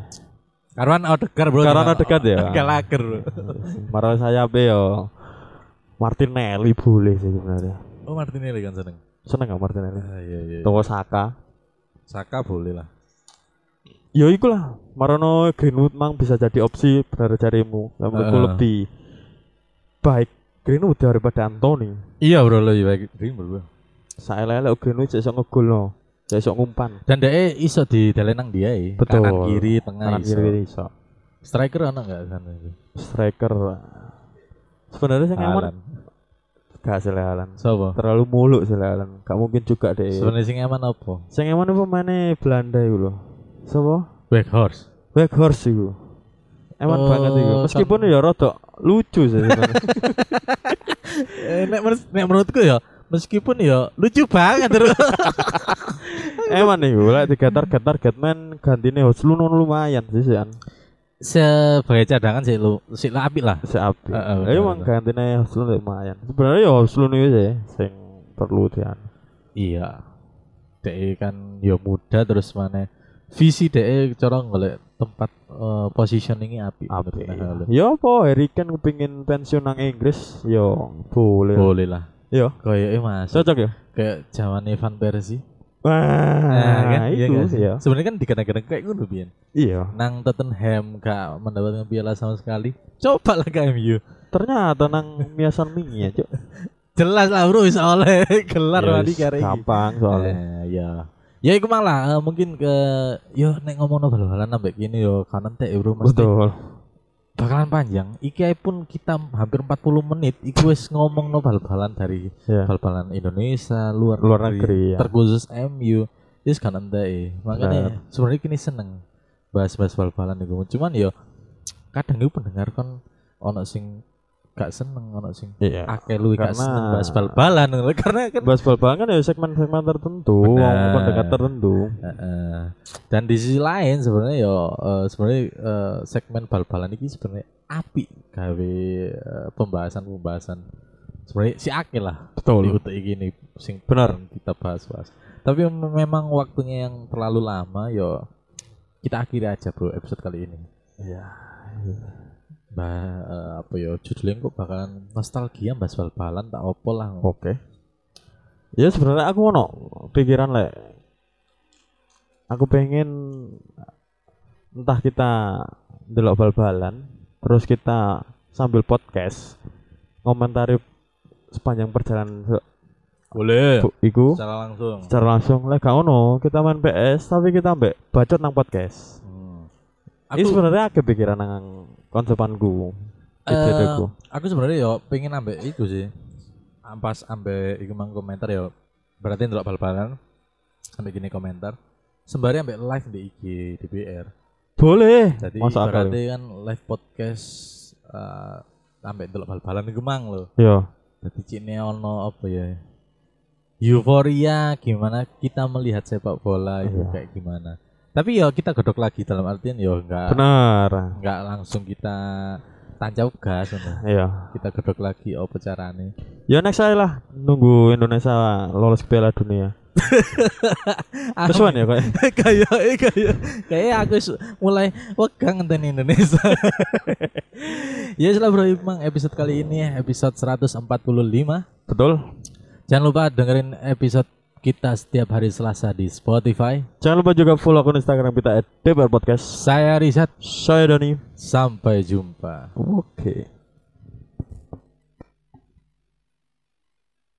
A: Karuan Odegaard, oh, Bro.
B: Karuan Odegaard ya?
A: Enggak laker. Bro.
B: marah saya be yo Martinelli boleh sih sebenarnya
A: Oh, Martinelli kan seneng.
B: seneng gak Martinelli
A: Ah, iya, iya.
B: utawa Saka
A: Saka boleh lah.
B: ya ikulah Marono Greenwood mang bisa jadi opsi benar carimu Lah, menurutku
A: Heeh.
B: lebih baik Greenwood daripada Anthony
A: Iya, Bro, lebih baik Dream, Bro.
B: saya lele Greenwood saya sok ngegol no saya sok ngumpan
A: Dan dia eh, iso di nang dia ya.
B: Betul.
A: Kanan kiri, tengah
B: kanan
A: Nah, iso.
B: kiri iso
A: Striker ana enggak sana itu?
B: striker sebenarnya saya nyaman
A: Alan.
B: gak selehalan
A: Sopo?
B: terlalu muluk selehalan gak mungkin juga deh
A: Sebenarnya sing aman apa?
B: saya nyaman itu pemainnya Belanda itu loh siapa?
A: Weghorst.
B: Weghorst itu eman
A: Oh,
B: banget itu meskipun
A: kan-
B: ya rodok lucu sih sebenarnya.
A: Eh, nek, menurut- nek menurutku ya, meskipun ya lucu banget terus.
B: eman itu lah tiga target target men gantinya host lu lumayan sih sih
A: Sebagai cadangan sih lu, si lapik lah.
B: si Abi
A: Heeh,
B: uh,
A: betul,
B: emang
A: betul.
B: gantinya host lu lumayan sebenarnya ya host lu nih sih sing perlu dian
A: Iya. DE kan ya muda terus mana visi DE cara golek tempat eh, positioningnya api.
B: Abi
A: Menurut aku.
B: yo po Ya Harry Kane kepingin pensiun nang Inggris yo boleh
A: Boleh lah.
B: yo
A: Kayaknya mas,
B: cocok ya
A: kayak zaman Van Persie.
B: Wah,
A: Iya
B: Nah, itu
A: nggak sih?
B: ya.
A: Sebenarnya kan digadang-gadang kayak ngono biyen.
B: Iya.
A: Nang Tottenham gak mendapatkan piala sama sekali. Coba lah ke MU.
B: Ternyata nang miasan mie ya, Cuk.
A: Jelas lah bro bisa oleh gelar
B: Ya,
A: wani
B: wis,
A: kare iki.
B: Gampang soalnya.
A: Eh, ya. Ya iku malah eh, mungkin ke yo nek ngomongno bal-balan sampai gini yo kanan teh bro mesti
B: Betul.
A: bakalan panjang. Iki ae pun kita hampir 40 menit iku wis ngomongno bal-balan dari
B: Ya.
A: bal-balan Indonesia, luar
B: Luar negeri ya.
A: terkhusus MU. Wis kanan teh.
B: Nah.
A: Makanya sebenarnya kini seneng ya, bahas-bahas bal-balan iku. Cuman yo kadang iku pendengar kan ono sing gak seneng ono sing
B: Iya.
A: akeh lu gak
B: Karena-
A: seneng bahas bal-balan ngono. karena kan
B: Bahas bal kan ya segmen-segmen tertentu,
A: Bener.
B: wong pendekat tertentu.
A: Heeh. dan di sisi lain sebenarnya ya eh, sebenarnya eh, segmen bal-balan ini sebenarnya api gawe eh, pembahasan-pembahasan sebenarnya si akeh lah di
B: Betul.
A: UTI gini sing
B: Benar.
A: pengen kita bahas-bahas. Tapi mem- memang waktunya yang terlalu lama yo kita akhiri aja bro episode kali ini.
B: Iya.
A: Bah, eh, apa yo judulnya kok bakalan nostalgia bahas bal-balan tak opo lah.
B: Oke. Ya sebenarnya aku ono pikiran lek aku pengen entah kita delok bal-balan terus kita sambil podcast komentari sepanjang perjalanan se-
A: Boleh.
B: bu- iku
A: Secara langsung.
B: secara langsung lek gak ono kita main PS tapi kita ambek bacot nang podcast.
A: Hmm.
B: Ini
A: Aku,
B: sebenarnya agak pikiran nang konsepanku.
A: eh,
B: Ide-ideku.
A: aku sebenarnya yo pengen ambek itu sih. Ampas ambek iku mang komentar yo. Berarti ndelok bal-balan ambek gini komentar. Sembari ambek live di IG DPR.
B: Boleh.
A: Jadi
B: Masuk akal.
A: berarti kan live podcast eh sampai delok bal-balan iku mang lho.
B: Yo.
A: Dadi cine ono apa ya? Euforia gimana kita melihat sepak bola itu
B: Iya.
A: kayak gimana. Tapi ya kita godok lagi dalam artian ya enggak
B: Benar.
A: enggak langsung kita tancap gas ngono.
B: Iya.
A: Kita godok lagi apa carane.
B: Ya next aja lah nunggu Indonesia lolos ke Piala Dunia. Kesuan ya kayak.
A: Ah. kayak eh, kayak kayak aku su- mulai wegang ngenteni Indonesia. ya sudah bro Imang episode kali ini episode 145.
B: Betul.
A: Jangan lupa dengerin episode kita setiap hari Selasa di Spotify.
B: Jangan lupa juga follow akun Instagram kita @dbrpodcast.
A: Saya Rizat,
B: Saya Doni.
A: sampai jumpa.
B: Oke.